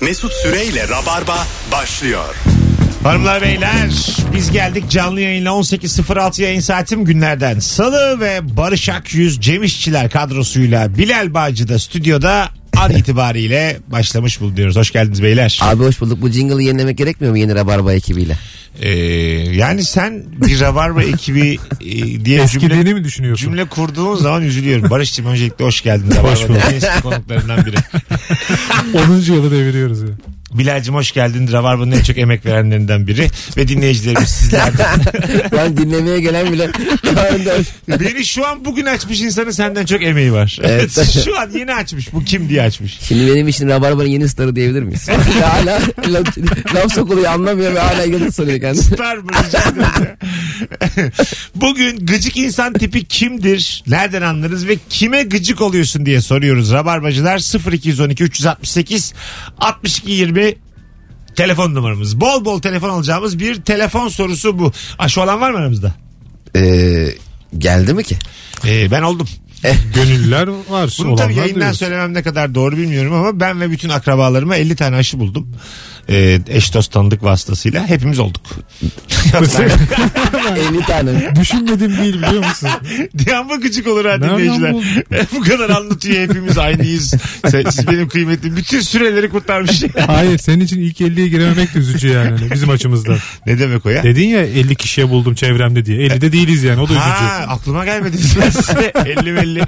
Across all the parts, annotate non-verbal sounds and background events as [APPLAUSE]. Mesut Süreyle Rabarba başlıyor. Hanımlar beyler biz geldik canlı yayınla 18.06 yayın saatim günlerden salı ve Barış Akyüz Cem İşçiler kadrosuyla Bilal Bağcı da stüdyoda an itibariyle başlamış bulunuyoruz. Hoş geldiniz beyler. Abi hoş bulduk. Bu jingle'ı yenilemek gerekmiyor mu yeni Rabarba ekibiyle? Ee, yani sen bir Rabarba ekibi e, diye cümle, mi düşünüyorsun? cümle kurduğun zaman üzülüyorum. Barış'cığım öncelikle hoş geldin. Rabarba'da en eski konuklarından biri. 10. yılı deviriyoruz ya. Bilal'cim hoş geldin. Rabarba'nın en çok emek verenlerinden biri. Ve dinleyicilerimiz sizlerden. Lan dinlemeye gelen bile daha önde hoş- Beni şu an bugün açmış insanın senden çok emeği var. Evet. [LAUGHS] şu an yeni açmış. Bu kim diye açmış. Şimdi benim için Rabarba'nın yeni starı diyebilir [LAUGHS] miyiz? Ya hala laf, laf sokuluyor anlamıyor ve hala yanıt soruyor kendisi. Süper mi? Rica ederim [LAUGHS] ya. Bugün gıcık insan tipi kimdir? Nereden anlarız ve kime gıcık oluyorsun diye soruyoruz. Rabarbacılar 0212 368 62 20 telefon numaramız. Bol bol telefon alacağımız bir telefon sorusu bu. Aşı olan var mı aramızda? Ee, geldi mi ki? Ee, ben oldum. Gönüllüler var. Bunu tabii yayından diyoruz. söylemem ne kadar doğru bilmiyorum ama ben ve bütün akrabalarıma 50 tane aşı buldum. Ee, eş dost tanıdık vasıtasıyla hepimiz [LAUGHS] olduk. Yok [LAUGHS] lan. 50 tane. Düşünmedim değil biliyor musun? Diyen bakıcık olur ha Nereden dinleyiciler. buldun? [LAUGHS] Bu kadar anlatıyor hepimiz aynıyız. Sen- siz benim kıymetim. Bütün süreleri [LAUGHS] kurtarmış. Hayır senin için ilk 50'ye girememek de üzücü yani hani bizim açımızdan. ne demek o ya? Dedin ya 50 kişiye buldum çevremde diye. 50'de değiliz yani o da üzücü. Ha, aklıma gelmedi. [LAUGHS] 50 belli. [LAUGHS]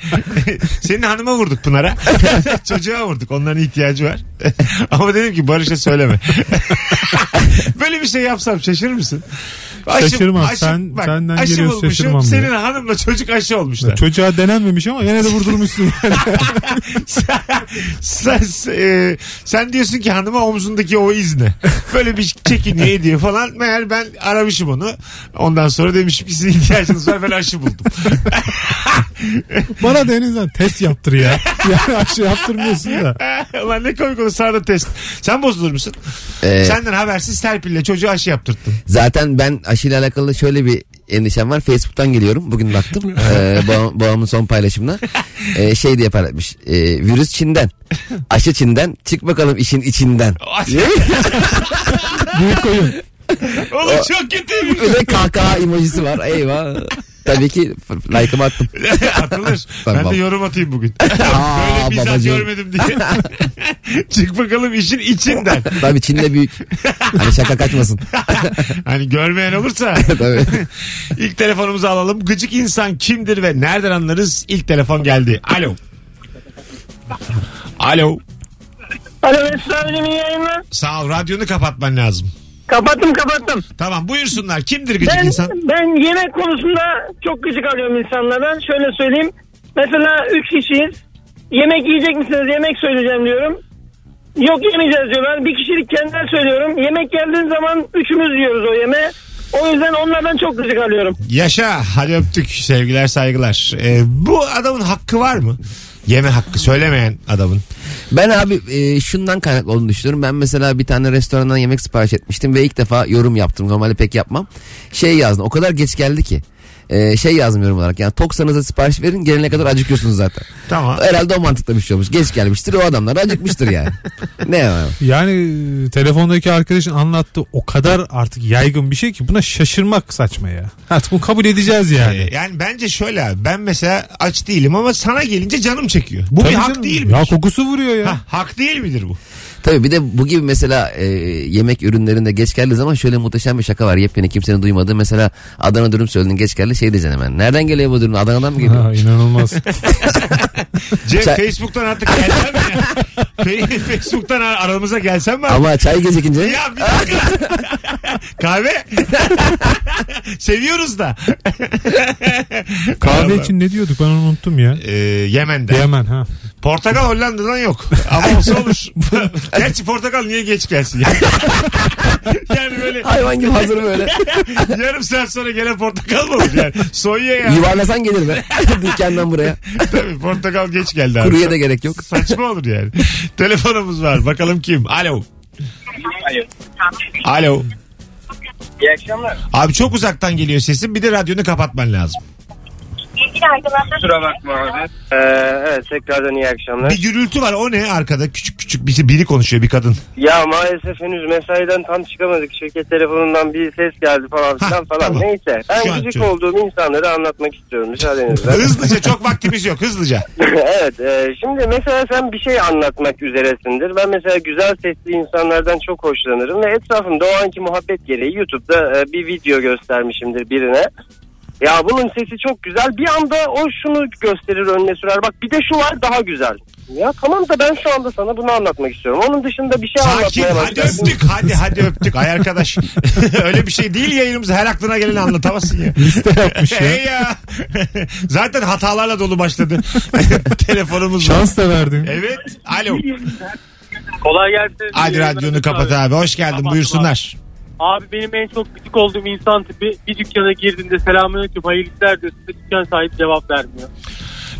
Senin hanıma vurduk Pınar'a. [LAUGHS] Çocuğa vurduk. Onların ihtiyacı var. [LAUGHS] Ama dedim ki Barış'a söyleme. [LAUGHS] Böyle bir şey yapsam şaşırır mısın? Şaşırmam. Sen- senden aşı geliyorsa bulmuşum. şaşırmam ya. Senin hanımla çocuk aşı [LAUGHS] olmuşlar. Çocuğa denenmemiş ama yine de [LAUGHS] vurdurmuşsun. sen, [LAUGHS] sen, e, sen diyorsun ki hanıma omzundaki o iz ne? [LAUGHS] Böyle bir çekiniyor ediyor falan. Meğer ben aramışım onu. Ondan sonra demişim ki sizin ihtiyacınız var ben aşı buldum. Bana denizden test yaptır ya. Yani aşı yaptırmıyorsun da. Eh, Ulan ne komik olur sana da test. Sen bozulur musun? Ee, Senden habersiz serpille çocuğu aşı yaptırttın. Zaten ben aşıyla alakalı şöyle bir endişem var. Facebook'tan geliyorum. Bugün baktım. Ee, babam- babamın son paylaşımına. Ee, şey diye paylaşmış. Ee, virüs Çin'den. Aşı Çin'den. Çık bakalım işin içinden. [LAUGHS] Büyük koyun. Oğlum çok kötüymüş. Bir de kahkaha emojisi var. Eyvah. Tabii ki like'ımı attım. [LAUGHS] Atılır. Ben Tamam. de yorum atayım [LAUGHS] bugün. Aa, Böyle bir saat babacığım. görmedim [LAUGHS] diye. Çık bakalım işin içinden. Tabii Çin'de büyük. Hani şaka kaçmasın. Hani görmeyen olursa [LAUGHS] Tabii. İlk telefonumuzu alalım. Gıcık insan kimdir ve nereden anlarız? İlk telefon geldi. Alo. Alo. Alo Mesut abicim iyi yayınlar. Sağ ol. Radyonu kapatman lazım. Kapattım kapattım. Tamam buyursunlar. Kimdir gıcık Ben, insan? ben yemek konusunda çok gıcık alıyorum insanlardan. Şöyle söyleyeyim. Mesela 3 kişiyiz. Yemek yiyecek misiniz? Yemek söyleyeceğim diyorum. Yok yemeyeceğiz diyorlar. Bir kişilik kendiler söylüyorum. Yemek geldiği zaman üçümüz yiyoruz o yemeği. O yüzden onlardan çok gıcık alıyorum. Yaşa. Hadi öptük. Sevgiler saygılar. Ee, bu adamın hakkı var mı? Yeme hakkı söylemeyen adamın. Ben abi e, şundan kaynaklı olduğunu düşünüyorum. Ben mesela bir tane restorandan yemek sipariş etmiştim ve ilk defa yorum yaptım. Normalde pek yapmam. Şey yazdım. O kadar geç geldi ki. E, şey yazmıyorum olarak yani toksanıza sipariş verin gelene kadar acıkıyorsunuz zaten. Tamam. Herhalde o mantıkla bir şey olmuş. Geç gelmiştir o adamlar acıkmıştır yani. ne var? Yani e, telefondaki arkadaşın anlattığı o kadar artık yaygın bir şey ki buna şaşırmak saçma ya. Artık bunu kabul edeceğiz yani. Ee, Yani bence şöyle abi, ben mesela aç değilim ama sana gelince canım çekiyor. Bu Tabii bir hak canım. değil Ya mi? kokusu vuruyor ya. Hak değil midir bu? Tabii bir de bu gibi mesela e, yemek ürünlerinde geç geldiği zaman şöyle muhteşem bir şaka var. Yepyeni kimsenin duymadığı mesela Adana dürüm söyledin geç geldi şey diyeceksin hemen. Nereden geliyor bu dürüm? Adana'dan mı geliyor? [LAUGHS] Ha, inanılmaz. Cem Sen- Facebook'tan artık gelsen mi [LAUGHS] ya? Fe- Facebook'tan ar- aramıza gelsen mi? abi? Ama çay gecikince Ya bir [LAUGHS] dakika. Kahve. Seviyoruz da. Kahve için ne diyorduk ben onu unuttum ya. Ee, Yemen'den. Yemen ha. Portakal Hollanda'dan yok. Ama olsa olur. Gerçi portakal niye geç gelsin? ya? [LAUGHS] yani böyle hayvan gibi [LAUGHS] hazır böyle. yarım saat sonra gelen portakal mı olur yani? Soya ya. Yuvarlasan gelir be [LAUGHS] dükkandan buraya. Tabii portakal geç geldi abi. Kuruya da gerek yok. Saçma olur yani. Telefonumuz var. Bakalım kim? Alo. Alo. İyi akşamlar. Abi çok uzaktan geliyor sesin. Bir de radyonu kapatman lazım. Kusura bakma abi. Ee, evet tekrardan iyi akşamlar. Bir gürültü var o ne arkada küçük küçük bir- biri konuşuyor bir kadın. Ya maalesef henüz mesaiden tam çıkamadık. Şirket telefonundan bir ses geldi falan Hah, filan falan. tamam. Neyse. Ben Şu an gıcık çözdüm. olduğum insanları anlatmak istiyorum müsaadenizle. Hızlıca çok vaktimiz yok hızlıca. [LAUGHS] evet. e, şimdi mesela sen bir şey anlatmak üzeresindir. Ben mesela güzel sesli insanlardan çok hoşlanırım ve etrafımda o anki muhabbet gereği YouTube'da e, bir video göstermişimdir birine. Ya bunun sesi çok güzel. Bir anda o şunu gösterir önüne sürer. Bak bir de şu var daha güzel. Ya tamam da ben şu anda sana bunu anlatmak istiyorum. Onun dışında bir şey Sakin anlatmaya hadi başlarsın. öptük hadi hadi öptük. Ay arkadaş [LAUGHS] öyle bir şey değil yayınımızda her aklına geleni anlatamazsın ya. Liste yapmış ya. Hey ya. [LAUGHS] Zaten hatalarla dolu başladı. [LAUGHS] Telefonumuz var. Şans da verdin. Evet. Alo. Kolay gelsin. Hadi İyi yayınlar radyonu Mesut kapat abi. Hoş geldin. Kapattım Buyursunlar. Abi benim en çok gıcık olduğum insan tipi bir dükkana girdiğinde selamünaleyküm hayırlı işler diyorsun. Dükkan sahibi cevap vermiyor.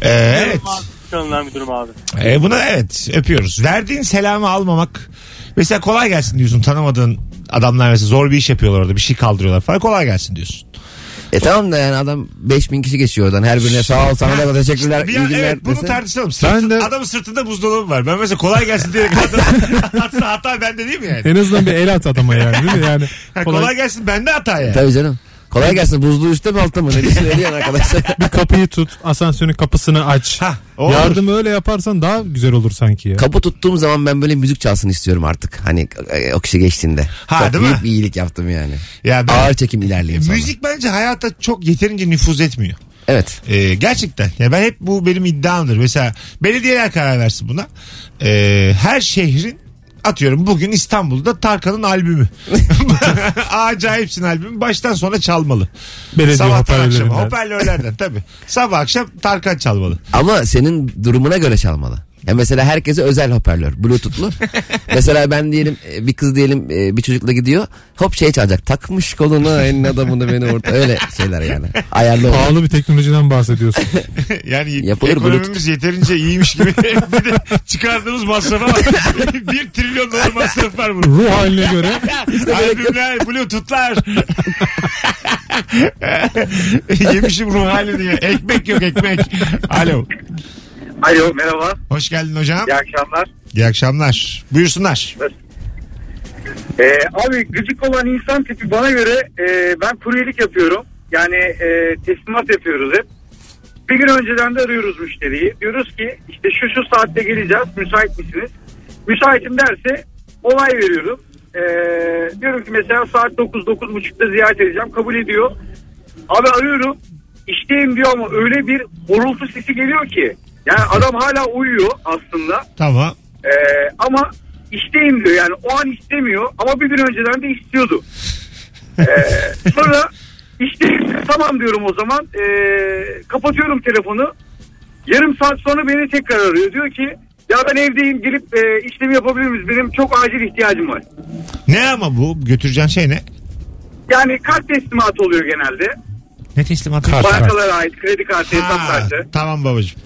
Ee, evet. Abi, Dükkanlar müdürüm abi. Ee, buna evet öpüyoruz. Verdiğin selamı almamak. Mesela kolay gelsin diyorsun tanımadığın adamlar mesela zor bir iş yapıyorlar orada bir şey kaldırıyorlar falan kolay gelsin diyorsun. E tamam da yani adam 5000 kişi geçiyor oradan. Her birine sağ ol sana da teşekkürler. Bir iyi an, günler. evet bunu dese. tartışalım. Sırt, Ben de- Adamın sırtında buzdolabı var. Ben mesela kolay gelsin [LAUGHS] diye adam atsa hata bende değil mi yani? En azından bir el at adama yani [LAUGHS] değil mi? Yani Ha, kolay, kolay, gelsin bende hata yani. Tabii canım. Kolay gelsin. Buzlu üstte mi altta mı? Ne düşünüyorsun [LAUGHS] arkadaşlar? bir kapıyı tut, asansörün kapısını aç. Ha, olur. Yardım öyle yaparsan daha güzel olur sanki ya. Kapı tuttuğum zaman ben böyle müzik çalsın istiyorum artık. Hani e, o kişi geçtiğinde. Ha, Çok değil büyük mi? bir iyilik yaptım yani. Ya ben- Ağır çekim ilerleyeyim sana. Müzik bence hayata çok yeterince nüfuz etmiyor. Evet. Ee, gerçekten. Ya ben hep bu benim iddiamdır. Mesela belediyeler karar versin buna. Ee, her şehrin atıyorum bugün İstanbul'da Tarkan'ın [LAUGHS] albümü. [LAUGHS] Acayipsin albümü baştan sona çalmalı. Belediye Sabahtan akşama hoparlörlerinden. hoparlörlerden tabii. Sabah akşam Tarkan çalmalı. Ama senin durumuna göre çalmalı. Ya mesela herkese özel hoparlör. [LAUGHS] Bluetooth'lu. mesela ben diyelim e, bir kız diyelim e, bir çocukla gidiyor. Hop şey çalacak. Takmış kolunu elin adamını beni orta. Öyle şeyler yani. Ayarlı olur. Pahalı bir [LAUGHS] teknolojiden bahsediyorsun. Yani Yapılır, ekonomimiz yeterince iyiymiş [LAUGHS] gibi. bir de çıkardığımız masrafa bak. [LAUGHS] bir trilyon dolar masraf var bunun. Ruh haline göre Albümler, bluetoothlar. [LAUGHS] Yemişim ruh halini ya. Ekmek yok ekmek. Alo. Alo merhaba. Hoş geldin hocam. İyi akşamlar. İyi akşamlar. Buyursunlar. Ee, abi gıcık olan insan tipi bana göre e, ben kuryelik yapıyorum. Yani e, teslimat yapıyoruz hep. Bir gün önceden de arıyoruz müşteriyi. Diyoruz ki işte şu şu saatte geleceğiz müsait misiniz? Müsaitim derse olay veriyorum. Ee, diyorum ki mesela saat 9-9.30'da ziyaret edeceğim kabul ediyor. Abi arıyorum işteyim diyor ama öyle bir horultu sesi geliyor ki. Yani adam hala uyuyor aslında. Tamam. Ee, ama isteyim diyor yani o an istemiyor ama bir gün önceden de istiyordu. Ee, sonra isteyim tamam diyorum o zaman Ee, kapatıyorum telefonu. Yarım saat sonra beni tekrar arıyor diyor ki ya ben evdeyim gelip e, işlemi yapabilir miyiz benim çok acil ihtiyacım var. Ne ama bu? Götüreceğin şey ne? Yani kart teslimatı oluyor genelde. Ne teslimatı? Kart. Bankalara ait kredi kartı hesap Ha, kartı. tamam babacığım.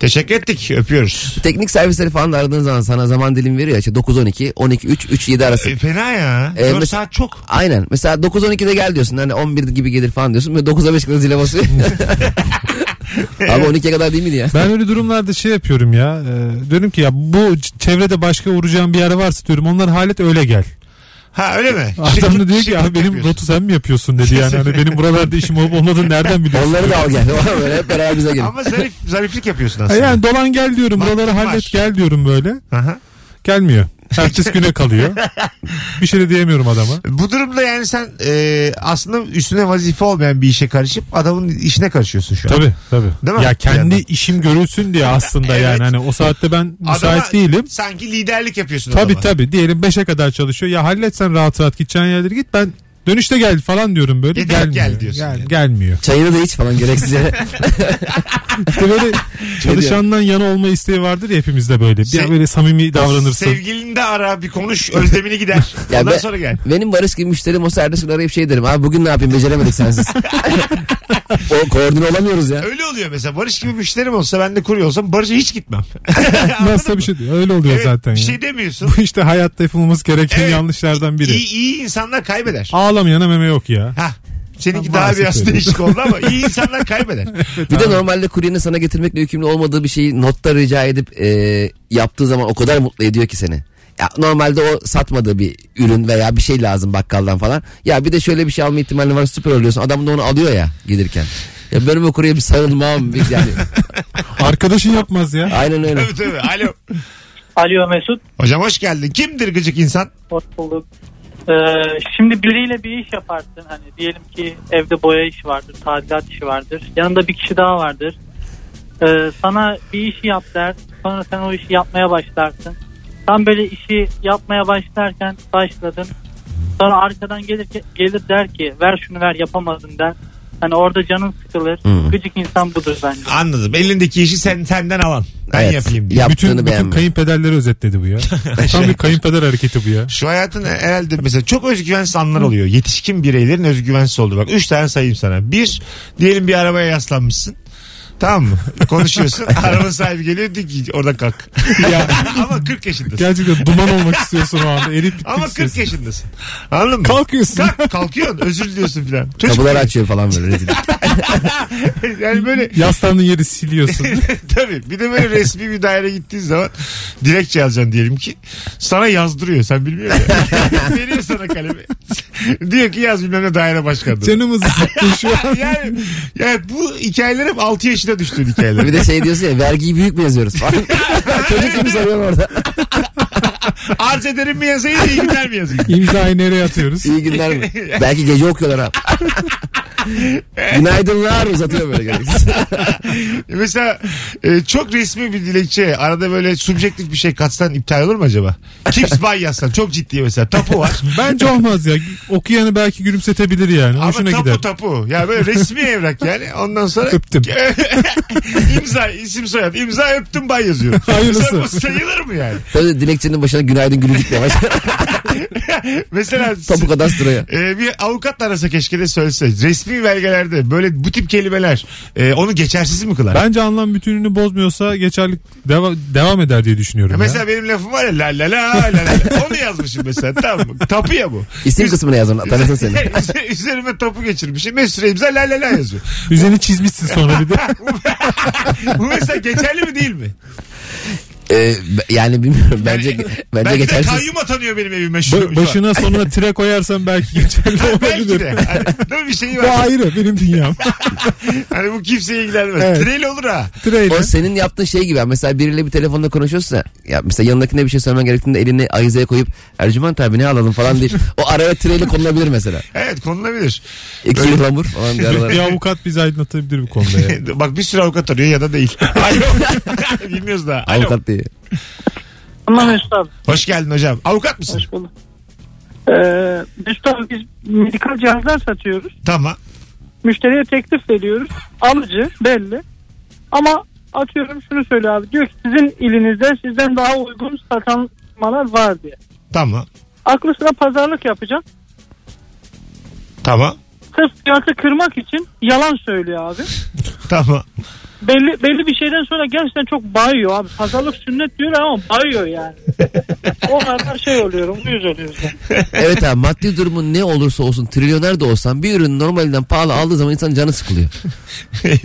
Teşekkür ettik. Öpüyoruz. Teknik servisleri falan da aradığın zaman sana zaman dilimi veriyor. İşte 9-12, 12-3, 3-7 arası. E, fena ya. E, 4 mes- saat çok. Aynen. Mesela 9-12'de gel diyorsun. Hani 11 gibi gelir falan diyorsun. Böyle 9'a 5 kadar zile [LAUGHS] basıyor. Abi 12'ye kadar değil miydi ya? Ben öyle durumlarda şey yapıyorum ya. e, diyorum ki ya bu c- çevrede başka uğrayacağım bir yer varsa diyorum onlar halet öyle gel. Ha öyle mi? Adam da diyor ki ya benim yapıyorsun." rotu sen mi yapıyorsun dedi yani. Hani benim buralarda işim olup [LAUGHS] olmadığını nereden biliyorsun? Onları da al gel. [LAUGHS] Böyle hep beraber bize gelin. [LAUGHS] Ama zarif, zariflik yapıyorsun Ha aslında. Yani dolan gel diyorum Bak, buraları var. hallet gel diyorum böyle. Aha. Gelmiyor. Ertesi [LAUGHS] güne kalıyor. Bir şey de diyemiyorum adama. Bu durumda yani sen e, aslında üstüne vazife olmayan bir işe karışıp adamın işine karışıyorsun şu an. Tabii tabii. Değil mi? Ya kendi Bir yandan. işim görülsün diye [LAUGHS] aslında Evet. yani hani o saatte ben müsait Adama değilim. Sanki liderlik yapıyorsun Tabii adama. tabii diyelim 5'e kadar çalışıyor. Ya halletsen rahat rahat gideceğin yerlere git ben dönüşte gel falan diyorum böyle. Yeter, gelmiyor. gel diyorsun yani. Gelmiyor. Çayını da iç falan gereksiz yere. [LAUGHS] İşte böyle çalışandan yana olma isteği vardır ya hepimizde böyle. Bir Sev- böyle samimi davranırsın. Sevgilini de ara bir konuş özlemini gider. [LAUGHS] Ya Ondan ben- sonra gel. Benim Barış gibi müşterim olsa ertesi gün arayıp şey derim. Abi bugün ne yapayım [LAUGHS] beceremedik sensiz. o koordine olamıyoruz ya. Öyle oluyor mesela Barış gibi müşterim olsa ben de kuruyor olsam Barış'a hiç gitmem. [LAUGHS] Anladın Nasıl mı? bir şey diyor. Öyle oluyor Evet, zaten. Bir ya. şey demiyorsun. Bu işte hayatta yapılmamız gereken Evet. yanlışlardan biri. İyi, iyi insanlar kaybeder. Ağlamayana meme yok ya. Ha. Seninki Ha, daha maalesef biraz öyle. değişik oldu ama iyi insanlar [LAUGHS] kaybeder. Bir de normalde kuryenin sana getirmekle yükümlü olmadığı bir şeyi notta rica edip e, yaptığı zaman o kadar mutlu ediyor ki seni. Ya normalde o satmadığı bir ürün veya bir şey lazım bakkaldan falan. Ya bir de şöyle bir şey alma ihtimali var süper oluyorsun. Adam da onu alıyor ya gelirken. Ya benim o kurye bir sarılmam. Bir [LAUGHS] yani. Arkadaşın yapmaz ya. Aynen öyle. tabii tabii. Alo. Alo Mesut. Hocam hoş geldin. Kimdir gıcık insan? Hoş bulduk. Ee, şimdi biriyle bir iş yaparsın. Hani diyelim ki evde boya işi vardır, tadilat işi vardır. Yanında bir kişi daha vardır. Ee, sana bir işi yap der. Sonra sen o işi yapmaya başlarsın. Tam böyle işi yapmaya başlarken başladın. Sonra arkadan gelir, ki- gelir der ki ver şunu ver yapamadın der. Hani orada canın sıkılır. Hı. Gıcık insan budur bence. [LAUGHS] Anladım. Elindeki işi sen senden alan. Ben Evet. yapayım diye. Yaptığını bütün, bütün beğenmiyor. kayınpederleri [LAUGHS] özetledi bu ya. Tam bir kayınpeder hareketi bu ya. Şu hayatın herhalde mesela çok özgüvensiz anlar oluyor. Yetişkin bireylerin özgüvensiz olduğu. Bak üç tane sayayım sana. Bir, diyelim bir arabaya yaslanmışsın. Tamam mı? [LAUGHS] Konuşuyorsun. araba sahibi geliyor diyor ki oradan [LAUGHS] kalk. Ya. Ama 40 yaşındasın. [LAUGHS] Gerçekten duman olmak istiyorsun o anda. Erip bitmek Ama 40 istiyorsun. yaşındasın. Anladın mı? Kalkıyorsun. Kalk, kalkıyorsun. Özür diliyorsun filan. Çocuk Kapıları açıyor falan böyle. rezil. [LAUGHS] yani böyle Yaslandığın [LAUGHS] yeri siliyorsun. Tabii. Bir de böyle resmi bir daire gittiğin zaman dilekçe yazacaksın diyelim ki. Sana yazdırıyor. Sen bilmiyor musun? [LAUGHS] Veriyor sana kalemi. [LAUGHS] Diyor ki yaz bilmem ne daire başkanı. Canımızı sıktın şu an. yani, yani bu hikayeler hep 6 yaşına düştüğün hikayeler. bir de şey diyorsun ya vergiyi büyük mü yazıyoruz [LAUGHS] falan. Çocuk gibi soruyorum orada. Arz ederim mi yazayım iyi günler mi yazayım? İmzayı nereye atıyoruz? İyi günler [LAUGHS] mi? Belki gece okuyorlar ha. [LAUGHS] Günaydınlar uzatıyor böyle. gereksiz. Mesela e, çok resmi bir dilekçe arada böyle subjektif bir şey katsan iptal olur mu acaba? Kips bay yazsan çok ciddi mesela tapu var. Bence olmaz ya. Okuyanı belki gülümsetebilir yani. Ama Hoşuna tapu gider. tapu. Ya böyle resmi evrak yani. Ondan sonra [LAUGHS] Öptüm. [LAUGHS] imza, isim soyad. İmza öptüm bay yazıyor. [LAUGHS] Hayırlısı. Mesela bu sayılır mı yani? Böyle dilekçenin başına günaydın gülücük [LAUGHS] diye başlar. [LAUGHS] Mesela Topu kadastroya. e, bir avukatla arasa keşke de söylese. Resmi belgelerde böyle bu tip kelimeler e, onu geçersiz mi kılar? Bence anlam bütününü bozmuyorsa geçerlik deva- devam eder diye düşünüyorum. ya. Mesela benim lafım var ya la la la la [LAUGHS] la. Onu yazmışım mesela tamam mı? Tapu ya bu. İsim kısmına yazın. [LAUGHS] Tanısın seni. Şey, Üzerime tapu geçirmişim. Mesut Süre imza la la la yazıyor. Üzerine çizmişsin sonra bir de. [LAUGHS] Bu mesela geçerli mi değil mi? Ee, be- yani bilmiyorum. Bence bence Belki de geçersiz. kayyum atanıyor benim evime şu, Ba- şu an. başına sonra tire koyarsan belki geçerli [LAUGHS] Belki de. [LAUGHS] olabilir. Hani, değil mi? bir şey Bu var. ayrı [LAUGHS] benim dünyam. [LAUGHS] Hani bu kimseye ilgilenmez. Evet. Tril olur ha. Tireyle. O senin yaptığın şey gibi. Mesela biriyle bir telefonda konuşuyorsun ya. ya mesela yanındakine bir şey söylemen gerektiğinde elini ayızaya koyup Ercüment abi ne alalım falan deyip o araya tireyle konulabilir mesela. Evet konulabilir. İki yıl hamur falan bir Bir aralara. avukat bizi aydınlatabilir bu [LAUGHS] konuda ya. Bak bir sürü avukat arıyor ya da değil. Alo. [LAUGHS] Bilmiyoruz da. Alo. Avukat diye. Ama Mesut abi. Hoş geldin hocam. Avukat mısın? Hoş bulduk. Ee, Mesut abi biz medikal cihazlar satıyoruz. Tamam. Müşteriye teklif veriyoruz. Alıcı belli. Ama atıyorum şunu söyle abi. Diyor ki sizin ilinizde sizden daha uygun satanmalar var diye. Tamam. Aklı sıra pazarlık yapacağım. Tamam. Sırf fiyatı kırmak için yalan söylüyor abi. Tamam. [LAUGHS] Belli belli bir şeyden sonra gerçekten çok bayıyor abi. Pazarlık sünnet diyor ama bayıyor yani. o kadar şey oluyorum, uyuz oluyoruz. yani. Evet abi maddi durumun ne olursa olsun trilyoner de olsan bir ürün normalinden pahalı aldığı zaman insanın canı sıkılıyor.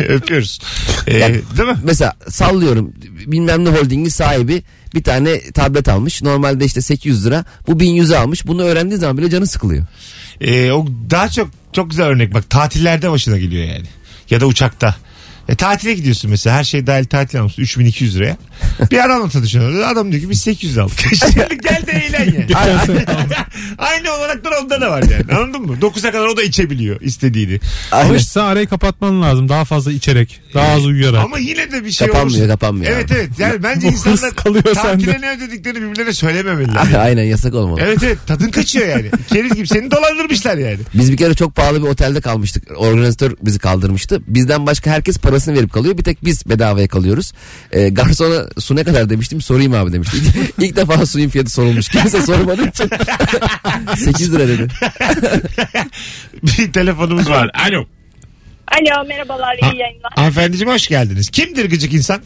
Öpüyoruz. Ee, Ya- değil mi? mesela sallıyorum bilmem ne holdingin sahibi bir tane tablet almış. Normalde işte 800 lira. Bu 1100 almış. Bunu öğrendiği zaman bile canı sıkılıyor. Ee, o daha çok çok güzel örnek. Bak tatillerde başına geliyor yani. Ya da uçakta. E, tatile gidiyorsun mesela her şey dahil tatil almışsın 3200 liraya. Bir adamla tanışıyorsun. Adam diyor ki biz 800 aldık. [LAUGHS] Şimdi gel de eğlen yani. Geçen sene- [LAUGHS] Aynı olanaklar onda da var yani. Anladın mı? 9'a kadar o da içebiliyor istediğini. Ama Aynen. işte sen arayı kapatman lazım. Daha fazla içerek. Daha az uyuyarak. Ama yine de bir şey Kapanmıyor, olursa- kapanmıyor Evet abi. evet. Yani bence Bu hırs insanlar kalıyor tatile sende. ne ödediklerini birbirlerine söylememeliler. [LAUGHS] Aynen yasak olmalı. Evet evet tadın kaçıyor yani. Keriz gibi seni dolandırmışlar yani. Biz bir kere çok pahalı bir otelde kalmıştık. Organizatör bizi kaldırmıştı. Bizden başka herkes parasını verip kalıyor. Bir tek biz bedavaya kalıyoruz. Ee, garsona su ne kadar demiştim sorayım abi demişti. [LAUGHS] İlk, ilk defa suyun fiyatı sorulmuş. Kimse sormadığı için. [LAUGHS] 8 lira dedi. Bir telefonumuz var. Alo. Alo merhabalar Ha- iyi yayınlar. Hanımefendiciğim hoş geldiniz. Kimdir gıcık insan?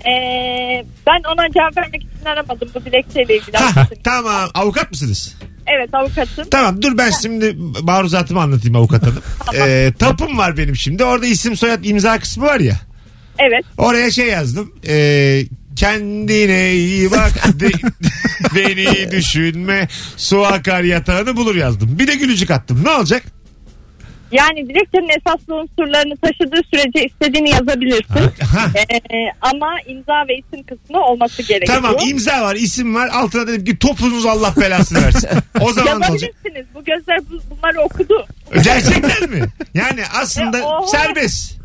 Ee, ben ona cevap vermek için aramadım bu dilekçeyle ilgili. Ha, aslında. tamam avukat mısınız? Evet avukatım. Tamam dur ben şimdi maruzatımı anlatayım avukat hanım. Ee, tapım var benim şimdi. Orada isim soyad imza kısmı var ya. Evet. Oraya şey yazdım. Ee, kendine iyi bak. de- beni düşünme. Su akar yatağını bulur yazdım. Bir de gülücük attım. Ne olacak? Yani dilekçenin esaslı unsurlarını taşıdığı sürece istediğini yazabilirsin. Ha. Ee, ama imza ve isim kısmı olması gerekiyor. Tamam imza var isim var. Altına dedim ki topunuz Allah belasını versin. O zaman ne olacak? Yazabilirsiniz. Bu gözler bu- bunları okudu. Gerçekten mi? Yani aslında E, oha. serbest.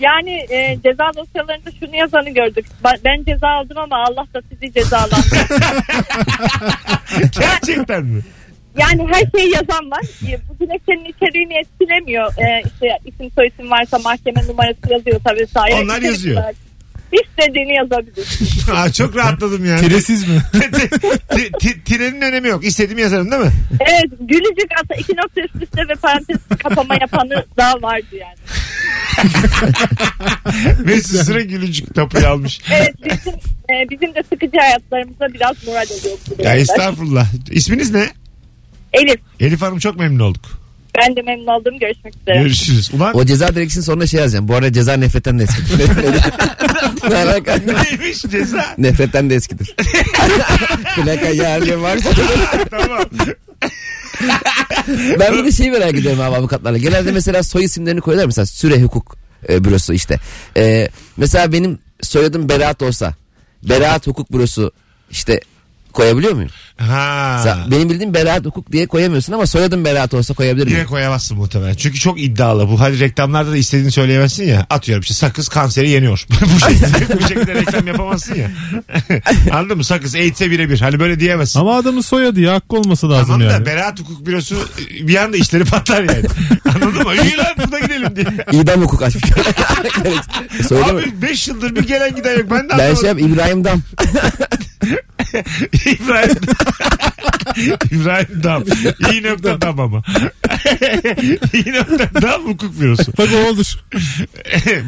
Yani e, ceza dosyalarında şunu yazanı gördük. Ba- Ben ceza aldım ama Allah da sizi cezalandırdı. Gerçekten mi? yani her şeyi yazan var. E, Bu dilekçenin içeriğini etkilemiyor. E, işte isim soyisim varsa mahkeme numarası yazıyor tabii sahip. Onlar yazıyor. İstediğini yazabilirsin. Aa, çok rahatladım yani. [LAUGHS] Tiresiz mi? Ti- ti- Tirenin önemi yok. İstediğimi yazarım değil mi? Evet gülücük aslında iki nokta üst üste ve parantez kapama yapanı daha vardı yani. Mesut Süre gülücük tapuyu almış. Evet bizim, e, bizim de sıkıcı hayatlarımıza biraz moral oluyor. bu Ya durumlar. estağfurullah. İsminiz ne? Elif Elif Hanım çok memnun olduk. ben de memnun oldum görüşmek üzere. Görüşürüz. Ulan O ceza dilekçesinin sonuna şey yazacağım. Bu arada ceza nefretten de [LAUGHS] eskidir. Ne alaka? [LAUGHS] neymiş ceza? nefretten de eskidir. [LAUGHS] Plaka yerli varsa. tamam. Ben bir de şeyi merak ediyorum abi avukatlarla. Genelde mesela soy isimlerini koyuyorlar. Mesela süre hukuk e, bürosu işte. E, mesela benim soyadım Berat olsa. Berat hukuk bürosu işte koyabiliyor muyum? Mesela Ha. benim bildiğim Berat hukuk diye koyamıyorsun ama soyadım Berat olsa koyabilir miyim? Direkt koyamazsın muhtemelen. Çünkü çok iddialı. Bu hadi reklamlarda da istediğini söyleyemezsin ya. Atıyorum işte sakız kanseri yeniyor. [LAUGHS] bu, şekilde, bu şekilde reklam yapamazsın ya. Anladın mı? Sakız AIDS'e birebir. Hani böyle diyemezsin. Ama adamın soyadı ya hakkı olması lazım Tamam da yani. beraat hukuk bürosu e, bir anda işleri patlar yani. Anladın mı? İyi lan buna gidelim diye. İdam hukuk açmış. Soyadım Abi 5 yıldır bir gelen giden yok. Ben de ben anlamadım. şey yap İbrahim Dam. [LAUGHS] İbrahim. İbrahim Dam. İyi nokta Dam ama. [LAUGHS] İyi nokta Dam hukuk bürosu. [LAUGHS] Bak o olur.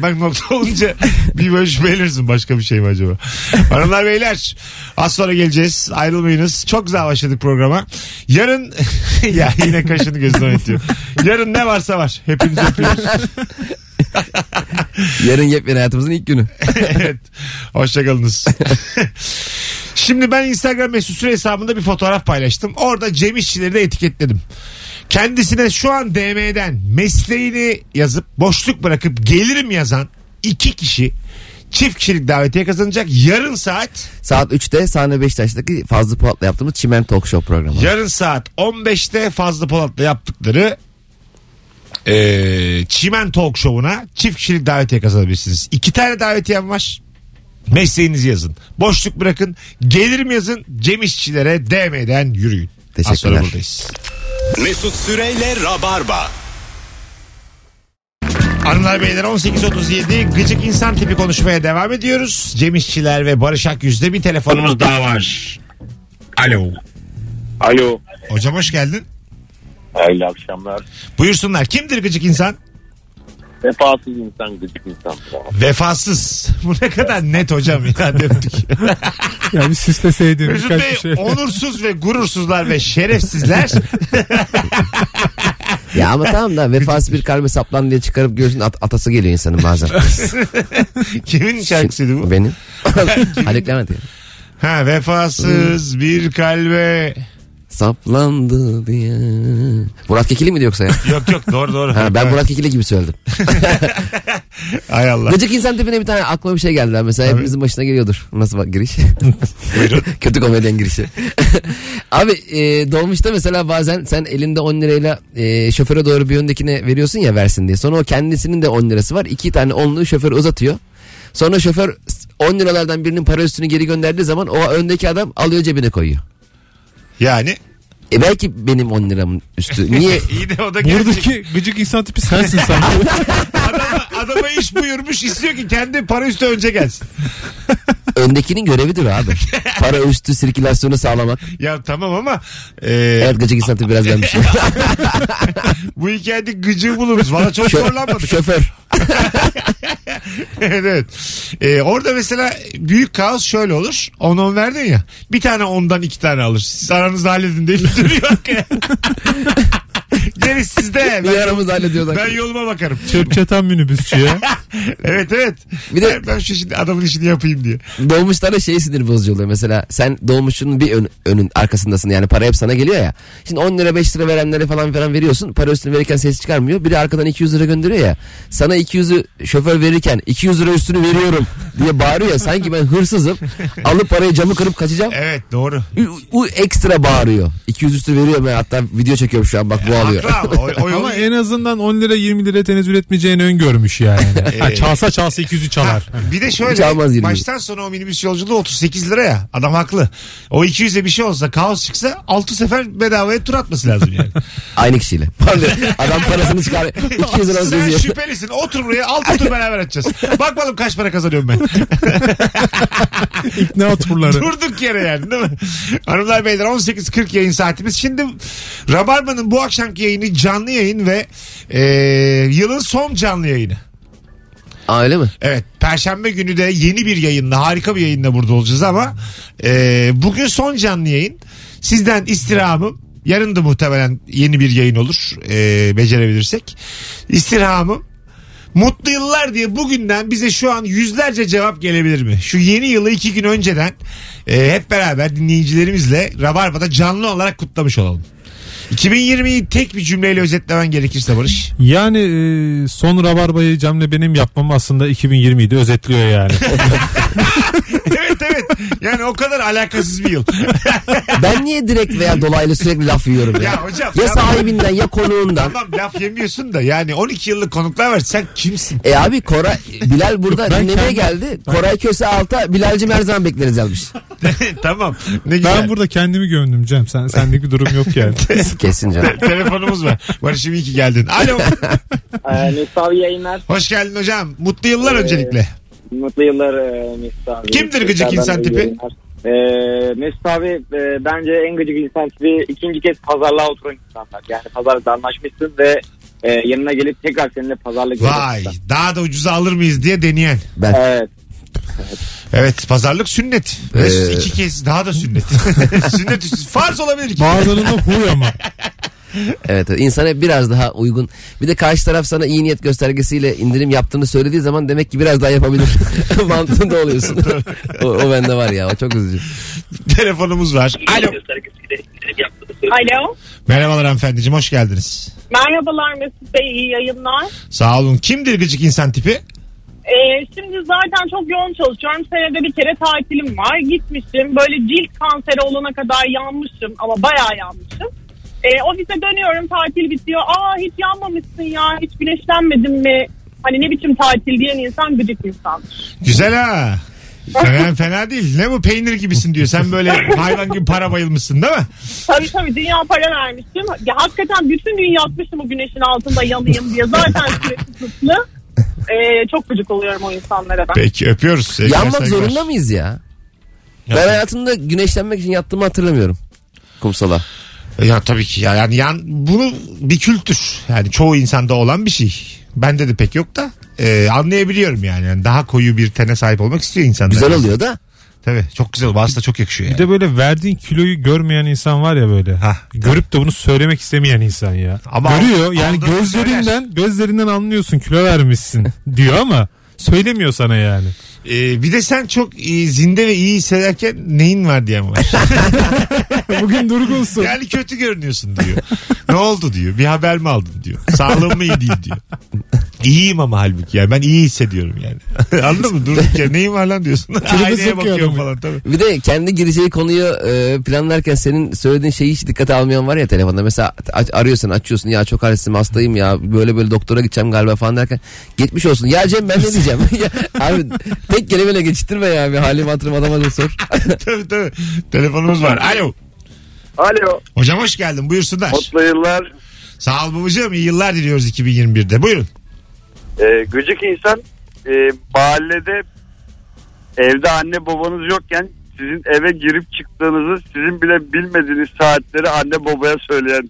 Bak nokta olunca bir bölüş belirsin başka bir şey mi acaba? Hanımlar beyler az sonra geleceğiz. Ayrılmayınız. Çok güzel başladık programa. Yarın [LAUGHS] ya yine kaşını gözüne oynatıyor. Yarın ne varsa var. Hepinizi öpüyoruz. Yarın yepyeni hayatımızın ilk günü. [LAUGHS] evet. Hoşçakalınız. [LAUGHS] Şimdi ben Instagram mesut süre hesabında bir fotoğraf paylaştım. Orada Cem İşçileri de etiketledim. Kendisine şu an DM'den mesleğini yazıp boşluk bırakıp gelirim yazan iki kişi çift kişilik davetiye kazanacak. Yarın saat Saat 3'te sahne Beşiktaş'taki Fazlı Polat'la yaptığımız Çimen Talk Show programı. yarın saat 15'te Fazlı Polat'la yaptıkları eee Çimen Talk Show'una çift kişilik davetiye kazanabilirsiniz. İki tane davetiyem var. Mesleğinizi yazın. Boşluk bırakın. Gelirim yazın. Cem İşçilere DM'den yürüyün. Az sonra Teşekkürler. buradayız. Mesut Süreyle Rabarba. Hanımlar beyler 18.37 gıcık insan tipi konuşmaya devam ediyoruz. Cem İşçiler ve Barış Akyüz'de bir telefonumuz daha var. Alo. Alo. Hocam hoş geldin. Hayırlı akşamlar. Buyursunlar. Kimdir gıcık insan? Vefasız insan gıcık insan. Vefasız. [LAUGHS] Bu ne kadar net hocam ya döktük. [LAUGHS] Ya bir süsleseydin Mesut birkaç Bey bir şey. onursuz ve gurursuzlar ve [LAUGHS] şerefsizler. Ya ama tamam da vefasız bir kalbe saplan diye çıkarıp göğsünün at- atası geliyor insanın bazen. Kimin şarkısıydı bu? Benim. Haluk Levent. ya. Ha vefasız bir kalbe. Saplandı diye. Murat Kekili miydi yoksa ya? Yok yok doğru doğru. Ha, ben Murat Kekili gibi söyledim. Ay Allah. Gıcık insan tipine bir tane aklıma bir şey geldi. lan. Mesela hepimizin başına geliyordur. Nasıl bak giriş? Kötü komedyen girişi. [LAUGHS] Abi e, dolmuşta mesela bazen sen elinde 10 lirayla e, şoföre doğru bir öndekine veriyorsun ya versin diye. Sonra o kendisinin de 10 lirası var. İki tane onluğu şoför uzatıyor. Sonra şoför 10 liralardan birinin para üstünü geri gönderdiği zaman o öndeki adam alıyor cebine koyuyor. Yani E belki benim 10 liramın [LAUGHS] üstü. Niye? iyi de o da gerçek. Buradaki gıcık insan tipi sensin [LAUGHS] sanki. Adama, adama iş buyurmuş istiyor ki kendi para üstü önce gelsin. Öndekinin görevidir abi. Para üstü sirkülasyonu sağlamak. Ya tamam ama e, Evet gıcık insan şey- tipi biraz benmişim. bu hikayede gıcığı buluruz. Valla çok Şö- zorlanmadık. şoför. [LAUGHS] evet evet. Ee, orada mesela büyük kaos şöyle olur. 10-10 verdin ya. Bir tane ondan iki tane alır. Siz aranızda halledin deyip [LAUGHS] duruyor arkaya. Gerisi sizde. Bir Ben, aramızda hallediyoruz. ben yoluma bakarım. Çöp çatan minibüsçü ya. [LAUGHS] evet evet. Bir de- ben, ben şu şimdi adamın işini yapayım diye. Dolmuşlara şey sinir bozucu oluyor mesela. Sen dolmuşun bir ön- önün arkasındasın yani para hep sana geliyor ya. Şimdi 10 lira 5 lira verenlere falan falan veriyorsun. Para üstünü verirken ses çıkarmıyor. Biri arkadan 200 lira gönderiyor ya. Sana 200'ü şoför verirken 200 lira üstünü veriyorum diye bağırıyor ya. Sanki ben hırsızım. Alıp parayı camı kırıp kaçacağım. Evet doğru. U, u- ekstra bağırıyor. 200 üstü veriyor ben hatta video çekiyorum şu an bak bu alıyor. Haklı ama o, [LAUGHS] o yolu- Ama en azından 10 lira 20 lira tenezzül etmeyeceğini öngörmüş yani. [LAUGHS] Ee. ha, çalsa çalsa 200'ü çalar. Bir de şöyle Hiç almaz yirmi. baştan sona o minibüs yolculuğu 38 lira ya. Adam haklı. O 200'e bir şey olsa kaos çıksa 6 sefer bedavaya tur atması lazım [LAUGHS] yani. Aynı kişiyle. Pardon. Adam parasını çıkar. 200 lira Sen ödüyor. şüphelisin. Otur buraya 6 tur beraber atacağız. Bak bakalım kaç para kazanıyorum ben. ne oturları. Durduk yere yani değil mi? Hanımlar beyler 18.40 yayın saatimiz. Şimdi Rabarba'nın bu akşamki yayını canlı yayın ve e, yılın son canlı yayını. Aa öyle mi? Evet Perşembe günü de yeni bir yayınla harika bir yayınla burada olacağız ama e, bugün son canlı yayın. Sizden istirhamım yarın da muhtemelen yeni bir yayın olur e, becerebilirsek. İstirhamım mutlu yıllar diye bugünden bize şu an yüzlerce cevap gelebilir mi? Şu yeni yılı iki gün önceden e, hep beraber dinleyicilerimizle Rabarba'da canlı olarak kutlamış olalım. 2020'yi tek bir cümleyle özetlemen gerekirse Barış. Yani e, son rabarbayı Cem'le benim yapmam aslında 2020'yi özetliyor [LAUGHS] yani. evet evet. Yani o kadar alakasız bir yıl. Ben niye direkt veya dolaylı sürekli laf yiyorum ya? Ya hocam, Ya ya- sahibinden ya konuğundan. Tamam laf yemiyorsun da yani 12 yıllık konuklar var sen kimsin? [LAUGHS] E abi Koray, Bilal burada Yok, ben dinlemeye kendim- geldi. Koray Köse alta, Bilal'cim her zaman bekleriz yazmış. tamam ne güzel. ben burada kendimi gömdüm Cem. Sen, sendeki bir durum [LAUGHS] yok yani. Kesin canım. Telefonumuz var. Barış'ım iyi ki geldin. Alo. [LAUGHS] Ee, Mesut abi yayınlar. Hoş geldin hocam. Mutlu yıllar Ee, öncelikle. Mutlu yıllar e, Mesut abi. Kimdir gıcık Tekrardan insan iyi tipi? yayınlar. Ee, Mesut abi e, bence en gıcık insan tipi ikinci kez pazarlığa oturan insanlar. Yani pazarlıkta anlaşmışsın ve e, yanına gelip tekrar seninle pazarlık Vay yapan insan. daha da ucuza alır mıyız diye deneyen. Ben. Evet. Evet pazarlık sünnet. Ee, iki kez daha da sünnet. sünnet üstü. Farz olabilir ki. Bazılarında huy ama. Evet evet. insan hep biraz daha uygun. Bir de karşı taraf sana iyi niyet göstergesiyle indirim yaptığını söylediği zaman demek ki biraz [LAUGHS] daha yapabilir. [LAUGHS] Mantığında oluyorsun. o, o bende var ya o çok üzücü. Telefonumuz var. Alo. Alo. Merhabalar hanımefendiciğim hoş geldiniz. Merhabalar Mesut Bey iyi yayınlar. Sağ olun. Kimdir gıcık insan tipi? Ee, şimdi zaten çok yoğun çalışıyorum. Senede bir kere tatilim var. Gitmişim. Böyle cilt kanseri olana kadar yanmışım ama bayağı yanmışım. Ee, ofise dönüyorum tatil bitiyor. Aa hiç yanmamışsın ya hiç güneşlenmedin mi? Hani ne biçim tatil diyen insan gıcık insandır. Güzel ha. Fena, fena değil. Ne bu peynir gibisin diyor. Sen böyle hayvan gibi para bayılmışsın değil mi? Tabii tabii dünya para vermiştim. Ya, hakikaten bütün gün yatmışım o güneşin altında yanayım diye. Zaten sürekli suçlu. Ee, çok gıcık oluyorum o insanlara ben. Peki öpüyoruz. Sevgiler, Yanmak saygılar. zorunda mıyız ya? Ben hayatımda güneşlenmek için yattığımı hatırlamıyorum. Kumsala. Ya tabii ki ya. yani yan bunu bir kültür. Yani çoğu insanda olan bir şey. Bende de pek yok da e, anlayabiliyorum yani. Yani Daha koyu bir tene sahip olmak istiyor insanlar. Güzel oluyor da. Tabii çok güzel. Bazısı da çok yakışıyor yani. Bir de böyle verdiğin kiloyu görmeyen insan var ya böyle. Hah. Görüp de bunu söylemek istemeyen insan ya. Ama Görüyor al- yani aldığını gözlerinden gözlerinden anlıyorsun kilo vermişsin diyor ama söylemiyor sana yani. E, bir de sen çok e, zinde ve iyi hissederken neyin var diye mi var? [LAUGHS] Bugün durgunsun. yani kötü görünüyorsun diyor. ne oldu diyor. Bir haber mi aldın diyor. Sağlığım mı iyi değil diyor. İyiyim ama halbuki yani ben iyi hissediyorum yani. [LAUGHS] Anladın mı? Durduk ya neyim var lan diyorsun. Aynaya sokuyor bakıyorum adamı. falan tabii. Bir de kendi gireceği konuyu e, planlarken senin söylediğin şeyi hiç dikkate almayan var ya telefonda. Mesela aç- arıyorsun açıyorsun ya çok halsizim hastayım ya böyle böyle doktora gideceğim galiba falan derken gitmiş olsun. Ya Cem ben ne diyeceğim? [LAUGHS] ya, abi tek kelimeyle geçiştirme ya bir halimi hatırım adama da sor. tabii tabii. Telefonumuz var. Alo. Alo. Hocam hoş geldin. Buyursunlar. Mutlu yıllar. Sağ ol babacığım. İyi yıllar diliyoruz 2021'de. Buyurun. Ee, gıcık insan e, mahallede evde anne babanız yokken sizin eve girip çıktığınızı sizin bile bilmediğiniz saatleri anne babaya söyleyen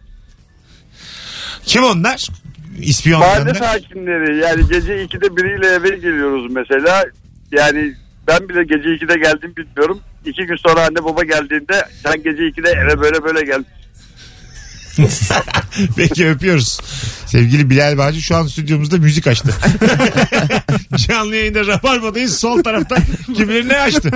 Kim onlar? İspiyonlarında. Mahalle sakinleri yani gece 2'de biriyle eve geliyoruz mesela. Yani ben bile gece 2'de geldim bilmiyorum. İki gün sonra anne baba geldiğinde sen gece 2'de eve böyle böyle gel. [LAUGHS] Peki öpüyoruz. Sevgili Bilal Bağcı şu an stüdyomuzda müzik açtı. [LAUGHS] Canlı yayında Rabarba'dayız. Sol tarafta kim bilir ne [LAUGHS] açtı.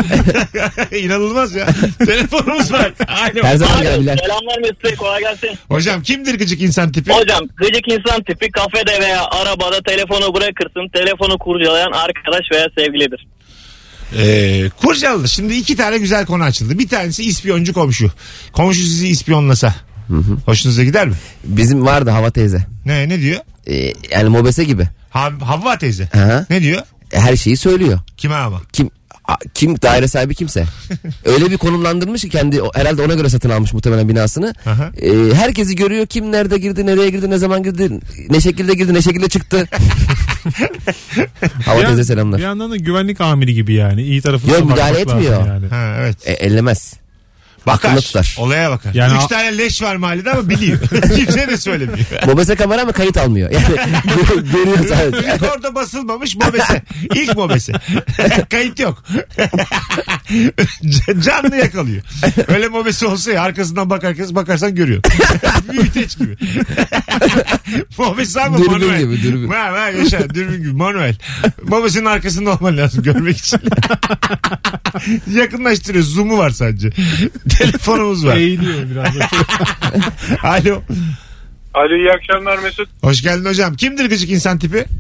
İnanılmaz ya. Telefonumuz var. Alo. Her zaman gel Bilal. Selamlar Mesut Bey kolay gelsin. Hocam kimdir gıcık insan tipi? Hocam gıcık insan tipi kafede veya arabada telefonu bırakırsın telefonu kurcalayan arkadaş veya sevgilidir. Ee, Kurcalı'da şimdi iki tane güzel konu açıldı. Bir tanesi ispiyoncu komşu. Komşu sizi ispiyonlasa. Hoşunuza gider mi? Bizim vardı Hava teyze. Ne ne diyor? Ee, yani mobese gibi. Ha, Havva teyze. Aha. Ne diyor? Her şeyi söylüyor. Kime ama? Kim a- kim daire [LAUGHS] sahibi kimse. Öyle bir konumlandırmış ki kendi o- herhalde ona göre satın almış muhtemelen binasını. Aha. Ee, herkesi görüyor. Kim nerede girdi, nereye girdi, ne zaman girdi, ne şekilde girdi, ne [LAUGHS] şekilde çıktı. Hava Bir teyze yan- Bir selamlar. yandan da güvenlik amiri gibi yani. İyi tarafına Yok, bakmak müdahale lazım etmiyor. Yani. Ha, evet. E, ellemez. Bakar. Aklında tutar. Olaya bakar. Yani Üç a- tane leş var mahallede ama biliyor. [LAUGHS] Kimse de söylemiyor. Mobese kamera ama kayıt almıyor. [LAUGHS] Yani [LAUGHS] gö- görüyor sadece. İlk orada basılmamış [LAUGHS] mobese. İlk mobese. [LAUGHS] Kayıt yok. [LAUGHS] Can- Canlı yakalıyor. Öyle mobese olsa ya arkasından bakar kız bakarsan [LAUGHS] görüyorsun. Büyüteç gibi. [LAUGHS] mobese ama Dürbün manuel. gibi, dürbün. Ha, ha, yaşa dürbün gibi manuel. Mobesenin arkasında olman lazım görmek için. [LAUGHS] Yakınlaştırıyor. Zoom'u var sadece. [LAUGHS] Telefonumuz var. Eğiliyor biraz. da. Alo. Alo iyi akşamlar Mesut. Hoş geldin hocam. Kimdir gıcık insan tipi? [LAUGHS]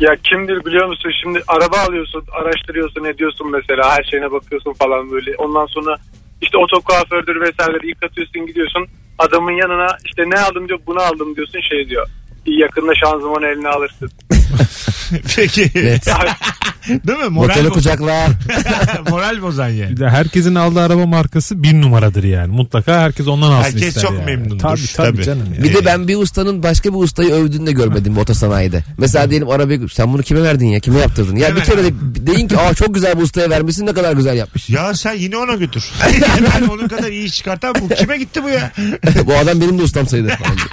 Ya kimdir biliyor musun şimdi araba alıyorsun araştırıyorsun ediyorsun mesela her şeyine bakıyorsun falan böyle. Ondan sonra işte otokuafördür vesaire yıkatıyorsun gidiyorsun. Adamın yanına işte ne aldım diyor bunu aldım diyorsun şey diyor. Yakında şanzımanı eline alırsın. Peki. Evet. Değil mi? Moral, Motoru bo- kucaklar. [LAUGHS] moral bozan yani. Bir de herkesin aldığı araba markası bir numaradır yani. Mutlaka herkes ondan alsın Herkes ister çok yani. memnundur. Tabii tabii, Tabii. canım. ya. Bir de ben bir ustanın başka bir ustayı övdüğünü de görmedim motosanayide. Mesela diyelim arabayı sen bunu kime verdin ya kime yaptırdın? Ya bir kere de deyin ki aa çok güzel bu ustaya vermişsin ne kadar güzel yapmış. [LAUGHS] Ya sen yine ona götür. [LAUGHS] ben onun kadar iyi iş çıkartan bu. Kime gitti bu ya? bu adam benim de ustam sayılır falan. diye.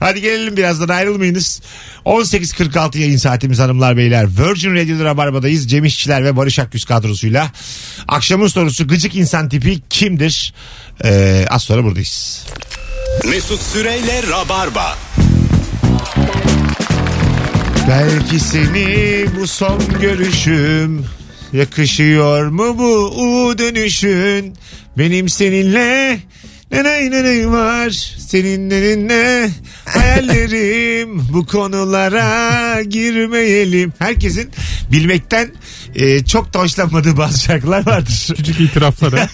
Hadi gelelim birazdan ayrılmayınız. 18.46 yayın saatimiz hanımlar beyler. Virgin Radio'da Rabarba'dayız. Cem İşçiler ve Barış Akgüz kadrosuyla. Akşamın sorusu gıcık insan tipi kimdir? Ee, az sonra buradayız. Mesut Süreyle Rabarba. Belki seni bu son görüşüm Yakışıyor mu bu u dönüşün Benim seninle ne ne ne ne var Seninle ne hayallerim Bu konulara girmeyelim Herkesin bilmekten e, çok da hoşlanmadığı bazı şarkılar vardır [LAUGHS] Küçük itirafları.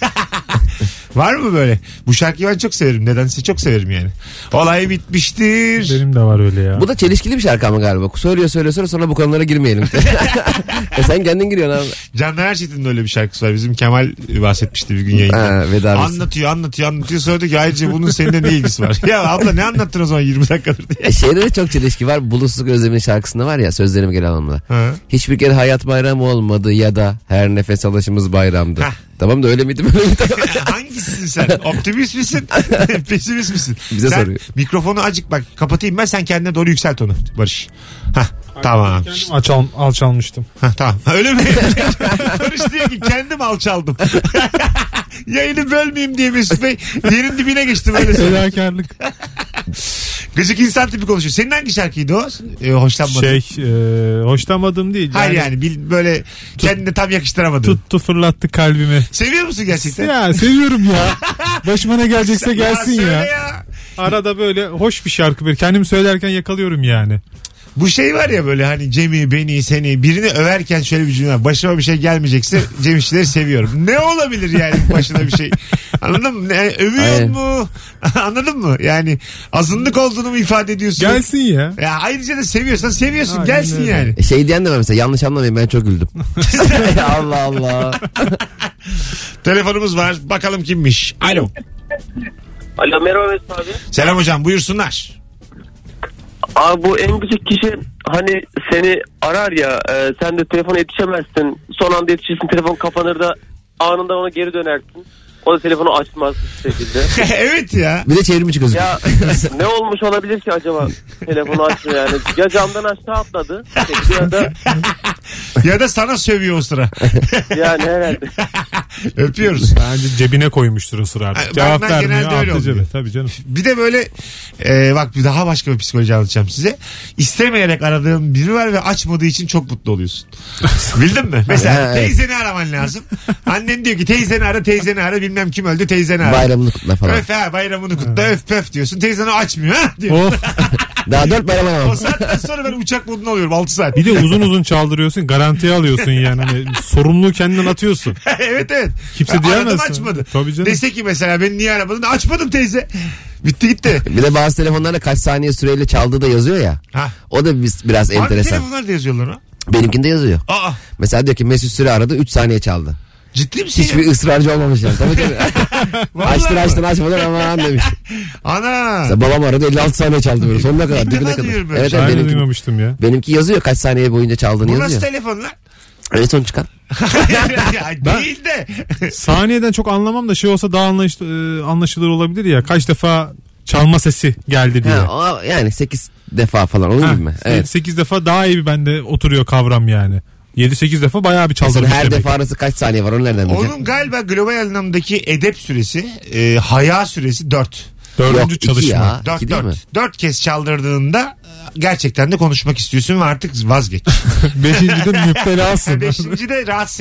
Var mı böyle? Bu şarkıyı ben çok severim nedense çok severim yani Olay bitmiştir Benim de var öyle ya. bu da çelişkili bir şarkı ama galiba. Söylüyor söylüyor sonra sonra bu konulara girmeyelim. [LAUGHS] e sen kendin giriyorsun abi. Candan Erçetin'in öyle bir şarkısı var. Bizim Kemal bahsetmişti bir gün Ha, yayında. veda mısın? anlatıyor anlatıyor anlatıyor. Sonra diyor ki ayrıca bunun seninle ne ilgisi var? [LAUGHS] ya abla ne anlattın o zaman 20 dakikadır diye. E şeyde de çok çelişki var. Bulutsuzluk özleminin şarkısında var ya sözlerim geri anlamda. Ha. Hiçbir kere hayat bayramı olmadı ya da her nefes alışımız bayramdı. Hah. Tamam da öyle miydi böyle miydi? [LAUGHS] Hangisisin sen? Optimist misin? [LAUGHS] Pesimist misin? Bize sen, soruyor. Mikrofonu acık bak kapatayım ben sen kendine doğru yükselt onu Barış. Hah, tamam. Kendim alçal, [LAUGHS] alçalmıştım. Hah, tamam. [LAUGHS] Öyle mi? Barış diyor ki kendim alçaldım. [LAUGHS] Yayını bölmeyeyim diye Mesut Bey yerin dibine geçti böyle. [LAUGHS] Fedakarlık. Gıcık insan tipi konuşuyor. Senin hangi şarkıydı o? Ee, hoşlanmadığın. şey e, hoşlanmadığım değil. Hayır yani, bil- böyle kendine tam yakıştıramadın. Tuttu fırlattı kalbimi. Seviyor musun gerçekten? Ya [LAUGHS] seviyorum ya. Başıma ne gelecekse gelsin söyle ya. Arada böyle hoş bir şarkı bir kendim söylerken yakalıyorum yani. Bu şey var ya böyle hani Cem'i, beni, seni birini överken şöyle bir cümle var. Başıma bir şey gelmeyecekse [LAUGHS] Cem işçileri seviyorum. Ne olabilir yani başına bir şey? Anladın mı? Yani övüyorsun Aynen. mu? [LAUGHS] Anladın mı? Yani azınlık olduğunu mu ifade ediyorsun? Gelsin ya. Ya ayrıca da seviyorsan seviyorsun Aynen gelsin öyle. yani. E şey diyen de var mesela yanlış anlamayın ben çok güldüm. [LAUGHS] Allah Allah. Telefonumuz var bakalım kimmiş. Alo. Alo merhaba Mesut abi. Selam hocam buyursunlar. [LAUGHS] Abi bu en gıcık kişi hani seni arar ya e, sen de telefona yetişemezsin. Son anda yetişirsin telefon kapanır da anında ona geri dönersin. O da telefonu açmaz hiçbir şekilde. evet ya. Bir de çevrimiçi gözüküyor. ya ne olmuş olabilir ki acaba? Telefonu açmıyor yani. Ya camdan aşağı atladı. Ya da Ya da sana sövüyor o sıra. yani herhalde. Öpüyoruz. Bence cebine koymuştur o sıra artık. Ha, Cevap benden vermiyor. genelde öyle Attı oluyor. cebe. Tabii canım. Bir de böyle e, bak bir daha başka bir psikoloji anlatacağım size. İstemeyerek aradığın biri var ve açmadığı için çok mutlu [LAUGHS] oluyorsun. Bildin mi? Ha, Mesela evet. teyzeni araman lazım. Annen diyor ki teyzeni ara teyzeni ara bilmem kim öldü teyzeni ara. [LAUGHS] Bayramını kutla falan. Öf ha bayramını kutla öf pöf diyorsun. Teyzen açmıyor ha diyor. Of. Daha [LAUGHS] dört bayram O var. saatten sonra ben uçak moduna alıyorum 6 saat. Bir de uzun uzun çaldırıyorsun. Garantiye alıyorsun yani. Hani sorumluluğu kendinden atıyorsun. [LAUGHS] evet evet. Kimse Aradım, diyemez. açmadı. Tabii canım. Dese ki mesela beni niye aramadın? Açmadım teyze. Bitti [LAUGHS] gitti. Bir de bazı telefonlarda kaç saniye süreyle çaldığı da yazıyor ya. Ha. O da biz, biraz Abi enteresan. telefonlar da yazıyorlar ha. Benimkinde yazıyor. Aa Mesela diyor ki Mesut Süre aradı 3 saniye çaldı. ciddi misin? Hiçbir ısrarcı olmamış yani. Tabii tabii. [LAUGHS] Vallahi açtın mi? açtın açmadan aman demiş. Ana. Mesela babam aradı 56 saniye çaldı böyle sonuna kadar İlk dibine defa kadar. duyuyorum Evet, böyle evet şey. Aynı benimki, duymamıştım ya. benimki yazıyor kaç saniye boyunca çaldığını Bu nasıl yazıyor. telefon [LAUGHS] lan? En son çıkan. Ya Ben- Değil de. Saniyeden çok anlamam da şey olsa daha anlaş- e, anlaşılır olabilir ya. Kaç defa çalma sesi geldi diye. Ha, o, yani 8 defa falan onun gibi mi? Evet. 8 defa daha iyi bir bende oturuyor kavram yani. 7-8 defa bayağı bir Mesela çaldırmış her demek. defa arası kaç saniye var onu nereden bileceksin? Onun galiba global anlamdaki edep süresi, e, haya süresi 4. Dördüncü Yok, iki çalışma. ya. [LAUGHS] Ha, 4 iki değil 4. mi? 4 kez çaldırdığında e, [LAUGHS] gerçekten de konuşmak istiyorsun ve artık vazgeç. Beşinciden müptelasın. Beşinci de rahatsız